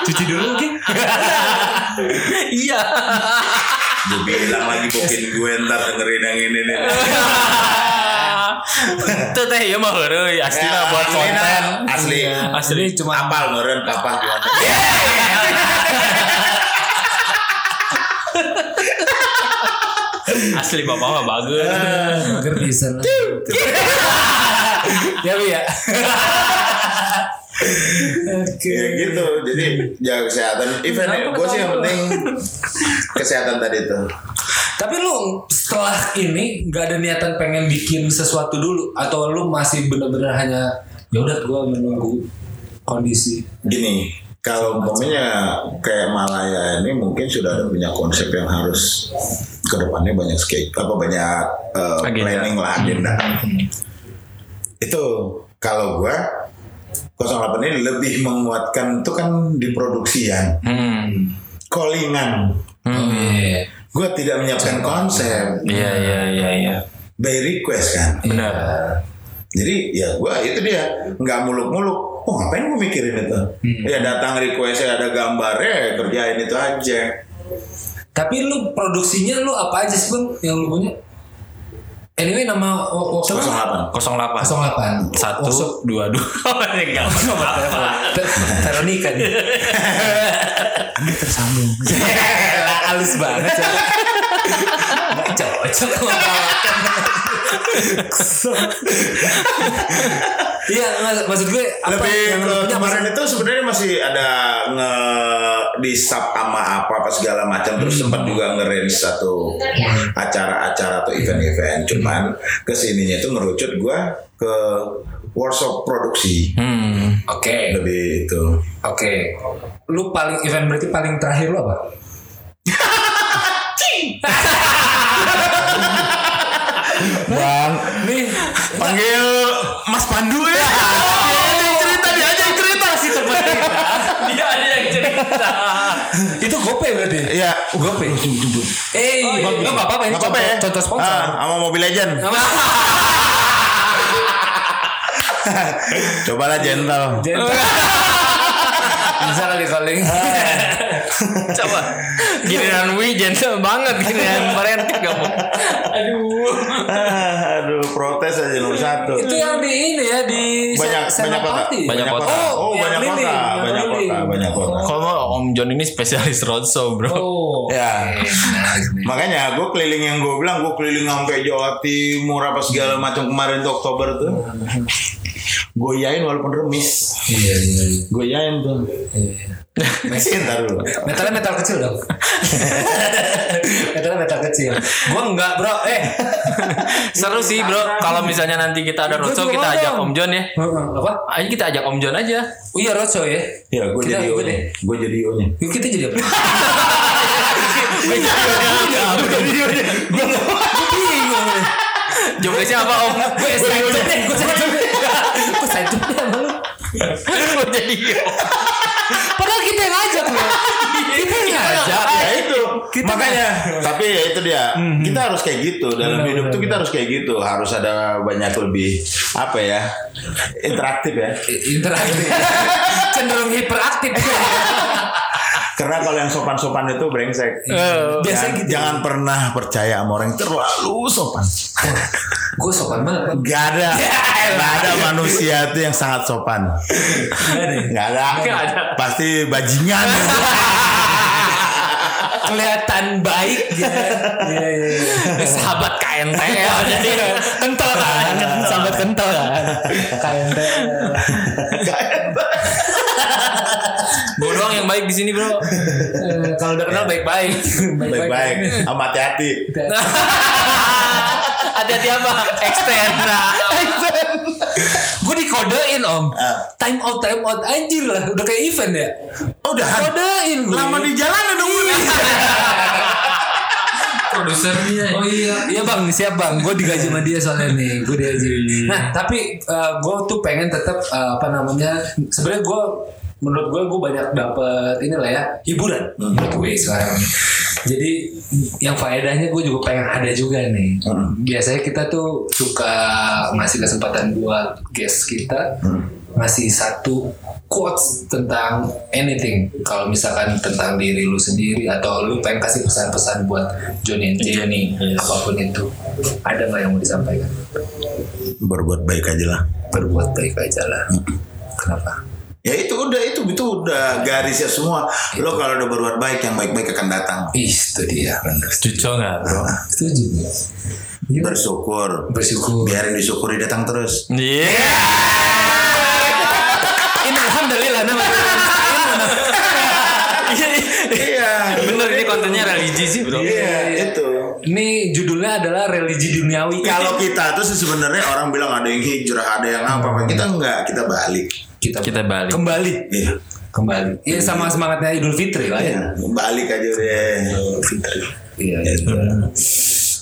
[SPEAKER 2] Cuci dulu, Ki. Iya.
[SPEAKER 3] Gue bilang lagi bokin gue ntar dengerin yang ini nih.
[SPEAKER 2] Itu teh ya mah heureui Ya, asli lah buat
[SPEAKER 3] Ya, Asli,
[SPEAKER 2] konten.
[SPEAKER 3] Asli.
[SPEAKER 2] Asli
[SPEAKER 3] Cuma apal ngeren apa gimana.
[SPEAKER 2] asli bapak mah bagus.
[SPEAKER 1] Mager di sana. Ya Bi, ya. Oke.
[SPEAKER 3] Ya gitu, jadi jaga kesehatan. Even
[SPEAKER 1] Kenapa
[SPEAKER 3] gue sih yang
[SPEAKER 1] ketawa?
[SPEAKER 3] penting kesehatan tadi tuh.
[SPEAKER 1] Tapi lu setelah ini nggak ada niatan pengen bikin sesuatu dulu atau lu masih bener-bener hanya ya udah gue menunggu kondisi.
[SPEAKER 3] Gini, kalau umpamanya kayak Malaya ini mungkin sudah ada punya konsep yang harus kedepannya banyak skate apa banyak eh,
[SPEAKER 2] Agenda. Hmm.
[SPEAKER 3] planning lah agenda. Itu kalau gue 08 ini lebih menguatkan itu kan di produksian,
[SPEAKER 2] Hmm.
[SPEAKER 3] callingan.
[SPEAKER 1] Iya.
[SPEAKER 3] Gue tidak menyiapkan konsep
[SPEAKER 2] Iya, iya, iya, iya.
[SPEAKER 3] by request kan.
[SPEAKER 2] Benar.
[SPEAKER 3] Jadi ya gua itu dia nggak muluk-muluk. Oh ngapain gue mikirin itu? Ya datang requestnya ada gambarnya ya, kerjain itu aja.
[SPEAKER 1] Tapi lu produksinya lu apa aja sih bang yang lu punya? Anyway nama wo- workshop apa? 08 Workshop.
[SPEAKER 3] 08.
[SPEAKER 2] 08 satu dua dua enggak apa-apa
[SPEAKER 1] Ter- Veronica nih. Anda tersambung. Halus banget. ya.
[SPEAKER 2] Nggak cocok sama perawatan.
[SPEAKER 1] Iya, nggak, maksud gue apa
[SPEAKER 3] Lebih
[SPEAKER 1] yang
[SPEAKER 3] ke
[SPEAKER 1] lu punya apa
[SPEAKER 3] kemarin itu sebenarnya masih ada nge di sub sama apa apa segala macam terus sempat juga ngerange satu acara-acara atau event-event cuman kesininya itu ngerucut gua ke workshop produksi
[SPEAKER 2] Hmm.
[SPEAKER 1] Oke,
[SPEAKER 3] lebih itu
[SPEAKER 1] oke. Lu paling event berarti paling terakhir lu apa?
[SPEAKER 4] Bang,
[SPEAKER 1] Nih,
[SPEAKER 3] panggil Mas Pandu ya
[SPEAKER 2] cerita dia aja yang cerita sih teman kita. Dia aja yang cerita.
[SPEAKER 1] itu gope berarti.
[SPEAKER 3] Iya,
[SPEAKER 1] Gope. Eh, nggak apa-apa ini
[SPEAKER 3] nggak apa-apa ya
[SPEAKER 1] contoh, contoh sponsor.
[SPEAKER 3] Ah, sama Mobile Legend cobalah gentle
[SPEAKER 1] Gentle. Bisa kali calling. Ah.
[SPEAKER 2] Coba. Giliran Wi gentle banget giliran merentik kamu. Aduh.
[SPEAKER 3] Ah, aduh protes aja nomor satu
[SPEAKER 1] Iya. itu yang di ini ya di
[SPEAKER 3] banyak
[SPEAKER 1] Se-
[SPEAKER 3] banyak kota
[SPEAKER 1] Senopati.
[SPEAKER 2] Banyak kota.
[SPEAKER 3] oh,
[SPEAKER 1] Oh, yang
[SPEAKER 3] banyak kota
[SPEAKER 1] keliling, yang
[SPEAKER 3] banyak kota
[SPEAKER 1] keliling.
[SPEAKER 3] banyak kota
[SPEAKER 2] Kalau Om John ini spesialis roadshow bro.
[SPEAKER 1] Oh.
[SPEAKER 3] ya
[SPEAKER 1] Menarik nih.
[SPEAKER 3] makanya gue keliling yang gue bilang gue keliling sampai Jawa Timur apa segala macam kemarin tuh Oktober tuh gue yain walaupun remis
[SPEAKER 1] Iya, iya, iya.
[SPEAKER 3] gue yain tuh
[SPEAKER 1] Iya.
[SPEAKER 3] ntar dulu
[SPEAKER 1] Metalnya metal kecil dong. metalnya metal kecil. Gua enggak, Bro. Eh.
[SPEAKER 2] Seru sih bro. Kalau misalnya nanti kita ada
[SPEAKER 1] Gua
[SPEAKER 2] roadshow
[SPEAKER 1] juga
[SPEAKER 2] kita
[SPEAKER 1] mau
[SPEAKER 2] ajak
[SPEAKER 1] dong.
[SPEAKER 2] Om John ya.
[SPEAKER 1] Apa?
[SPEAKER 2] Ayo kita ajak Om John aja.
[SPEAKER 1] Oh iya roadshow ya.
[SPEAKER 3] ya gue
[SPEAKER 1] Kita
[SPEAKER 3] jadi O
[SPEAKER 1] ikut
[SPEAKER 3] nya
[SPEAKER 1] deh.
[SPEAKER 3] gue jadi O nya
[SPEAKER 1] Yuk kita jadi apa? Gue bingung. nih.
[SPEAKER 2] Jobdesknya apa Om?
[SPEAKER 1] Gue excited deh, gue excited deh. Gue excited deh sama lu.
[SPEAKER 2] Lo jadi
[SPEAKER 1] Padahal kita yang ngajak loh. Kita yang ngajak.
[SPEAKER 3] ya itu makanya tapi ya itu dia kita harus kayak gitu dalam hidup tuh kita harus kayak gitu harus ada banyak lebih apa ya interaktif ya
[SPEAKER 1] Interaktif. Cenderung hiperaktif.
[SPEAKER 3] karena kalau yang sopan-sopan itu brengsek
[SPEAKER 1] Biasanya
[SPEAKER 3] Eh, Jangan,
[SPEAKER 1] gitu.
[SPEAKER 3] jangan pernah percaya sama orang yang terlalu sopan.
[SPEAKER 1] Gue sopan banget.
[SPEAKER 3] Gak ada, gak ada manusia itu yang sangat sopan. Gak ada.
[SPEAKER 2] Nggak ada.
[SPEAKER 3] Pasti bajingan.
[SPEAKER 2] kelihatan baik
[SPEAKER 1] Iya, iya, iya.
[SPEAKER 2] sahabat KNTL ya, jadi kental kan sahabat kental kan
[SPEAKER 1] KNT.
[SPEAKER 2] gue doang yang baik di sini bro
[SPEAKER 1] Eh, Kalau udah kenal baik-baik.
[SPEAKER 3] Baik-baik, sama hati-hati.
[SPEAKER 2] hati-hati apa extend
[SPEAKER 1] gue dikodein om
[SPEAKER 3] Ah.
[SPEAKER 1] time out time out anjir lah udah kayak event ya
[SPEAKER 3] Udah.
[SPEAKER 1] kodein gue
[SPEAKER 3] Lama di jalan dong.
[SPEAKER 2] produsernya
[SPEAKER 1] Oh iya, iya bang, siap bang. Gue digaji sama dia soalnya nih, gue digaji. Nah, tapi gue tuh pengen tetap eh, apa namanya? Sebenarnya gue, menurut gue, gue banyak dapet inilah ya hiburan menurut gue sekarang. Jadi yang faedahnya gue juga pengen ada juga nih. Biasanya kita tuh suka ngasih kesempatan buat guest kita ngasih satu quotes tentang anything kalau misalkan tentang diri lu sendiri atau lu pengen kasih pesan-pesan buat Johnny and Jay
[SPEAKER 2] Johnny, yes.
[SPEAKER 1] apapun itu ada nggak yang mau disampaikan
[SPEAKER 3] Berbuat baik aja lah.
[SPEAKER 1] berbuat baik aja lah kenapa
[SPEAKER 3] Ya itu udah itu itu udah garisnya semua. Lo kalau udah berbuat baik yang baik-baik akan datang.
[SPEAKER 1] Ih, itu dia benar
[SPEAKER 2] cuco nggak bro
[SPEAKER 1] setuju
[SPEAKER 3] Iya.
[SPEAKER 1] Gimana?
[SPEAKER 3] Bersyukur.
[SPEAKER 1] bersyukur
[SPEAKER 3] Biarin disyukuri datang terus.
[SPEAKER 2] iya
[SPEAKER 1] ini alhamdulillah namanya
[SPEAKER 3] Iya.
[SPEAKER 2] bener ini kontennya religi sih bro
[SPEAKER 3] Iya, itu.
[SPEAKER 1] ini judulnya adalah religi duniawi
[SPEAKER 3] Kalau kita tuh sih sebenarnya orang bilang ada yang hijrah, ada yang apa, apa. kita enggak, kita balik.
[SPEAKER 1] kita,
[SPEAKER 2] kita balik
[SPEAKER 1] kembali
[SPEAKER 3] Iya.
[SPEAKER 1] kembali ya sama semangatnya Idul Fitri lah ya
[SPEAKER 3] Iya, balik aja deh.
[SPEAKER 1] Iya. iya.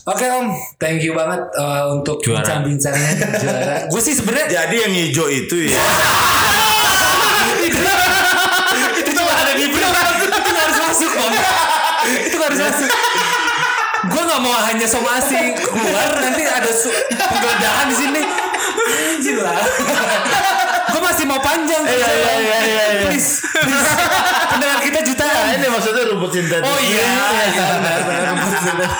[SPEAKER 1] Oke Om, thank you banget eh, untuk
[SPEAKER 2] Juara.
[SPEAKER 1] bincang-bincangnya. Juara. Gue sih sebenarnya
[SPEAKER 3] Jadi yang hijau itu ya.
[SPEAKER 1] itu nggak ada di berita. Itu nggak harus masuk Om. Itu nggak harus masuk. Gue nggak mau hanya somasi keluar nanti ada su- penggeledahan di sini. Anjir lah. Gue masih mau panjang.
[SPEAKER 3] iya, iya, iya, iya, iya.
[SPEAKER 1] Please, please. Pendengar kita jutaan.
[SPEAKER 2] Oh, iya.
[SPEAKER 1] iya.
[SPEAKER 3] Iya, Ini maksudnya rumput sintetis.
[SPEAKER 1] Oh iya, iya benar benar.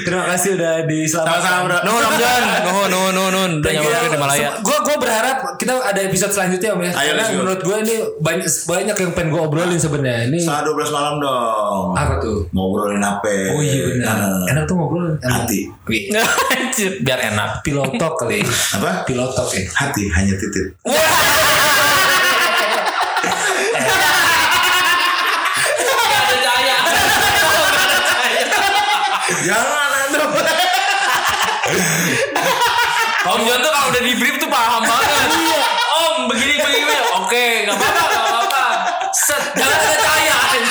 [SPEAKER 1] Terima kasih udah diselamatkan.
[SPEAKER 3] Sama-sama bro.
[SPEAKER 2] No, Ramdan. No, no, no, no. Udah
[SPEAKER 1] ya,
[SPEAKER 2] nyamakan di Malaya.
[SPEAKER 1] Gue gue berharap kita ada episode selanjutnya om ya.
[SPEAKER 3] Ayo,
[SPEAKER 1] Karena
[SPEAKER 3] let's go.
[SPEAKER 1] menurut gue ini banyak banyak yang pengen gue obrolin sebenarnya. Ini
[SPEAKER 3] Setengah 12 malam dong.
[SPEAKER 1] apa tuh?
[SPEAKER 3] Ngobrolin HP.
[SPEAKER 1] Oh iya benar.
[SPEAKER 3] Nah,
[SPEAKER 1] Enak tuh ngobrol.
[SPEAKER 3] Hati.
[SPEAKER 1] Wih,
[SPEAKER 2] Anjir, Biar enak.
[SPEAKER 1] Pilotok kali.
[SPEAKER 3] Apa?
[SPEAKER 1] Pilotok ya.
[SPEAKER 3] Hati hanya titik. Jangan anda.
[SPEAKER 2] Om John tuh kalau udah di brief tuh paham banget. Om begini begini. Oke, nggak apa-apa, nggak apa-apa. Set, jangan ada cahaya. anjing.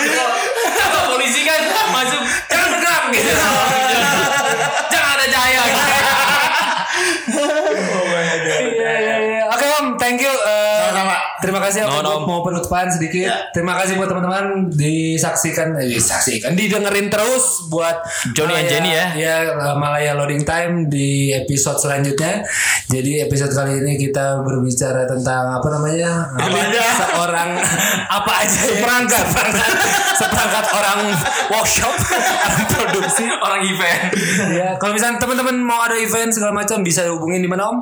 [SPEAKER 2] Kalau- kalau polisi kan masuk jangan bergerak gitu. jangan ada cahaya. Gitu.
[SPEAKER 1] Iya iya iya. Oke om, thank you. Eh,
[SPEAKER 3] Sama-sama.
[SPEAKER 1] Terima kasih
[SPEAKER 2] No,
[SPEAKER 1] aku
[SPEAKER 2] no.
[SPEAKER 1] mau penutupan sedikit.
[SPEAKER 3] Ya.
[SPEAKER 1] Terima kasih buat teman-teman disaksikan, eh, disaksikan, didengerin terus buat
[SPEAKER 2] Johnny and
[SPEAKER 1] Malaya-
[SPEAKER 2] Jenny ya.
[SPEAKER 1] Ya eh, Malaya Loading Time di episode selanjutnya. Jadi episode kali ini kita berbicara tentang apa namanya?
[SPEAKER 3] Apa aja?
[SPEAKER 1] Seorang apa aja? ya? Seperangkat, seperangkat, seperangkat orang workshop, orang produksi.
[SPEAKER 2] Orang event.
[SPEAKER 1] Ya, kalau misalnya teman-teman mau ada event segala macam bisa hubungin di mana om?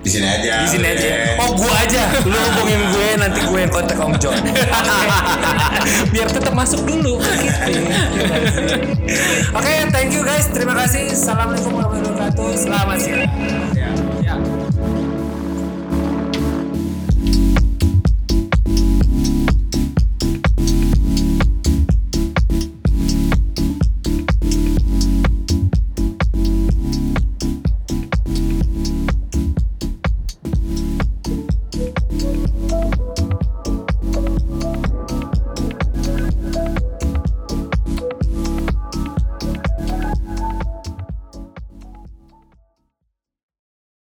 [SPEAKER 3] Di sini aja.
[SPEAKER 1] di sini aja. Oh gua aja. Lu hubungin gue nanti gue yang kontak Om John. Biar tetap masuk dulu. Gitu. Oke, thank you guys. Terima kasih. Assalamualaikum warahmatullahi wabarakatuh. Selamat siang.
[SPEAKER 3] Ya.
[SPEAKER 1] Ya.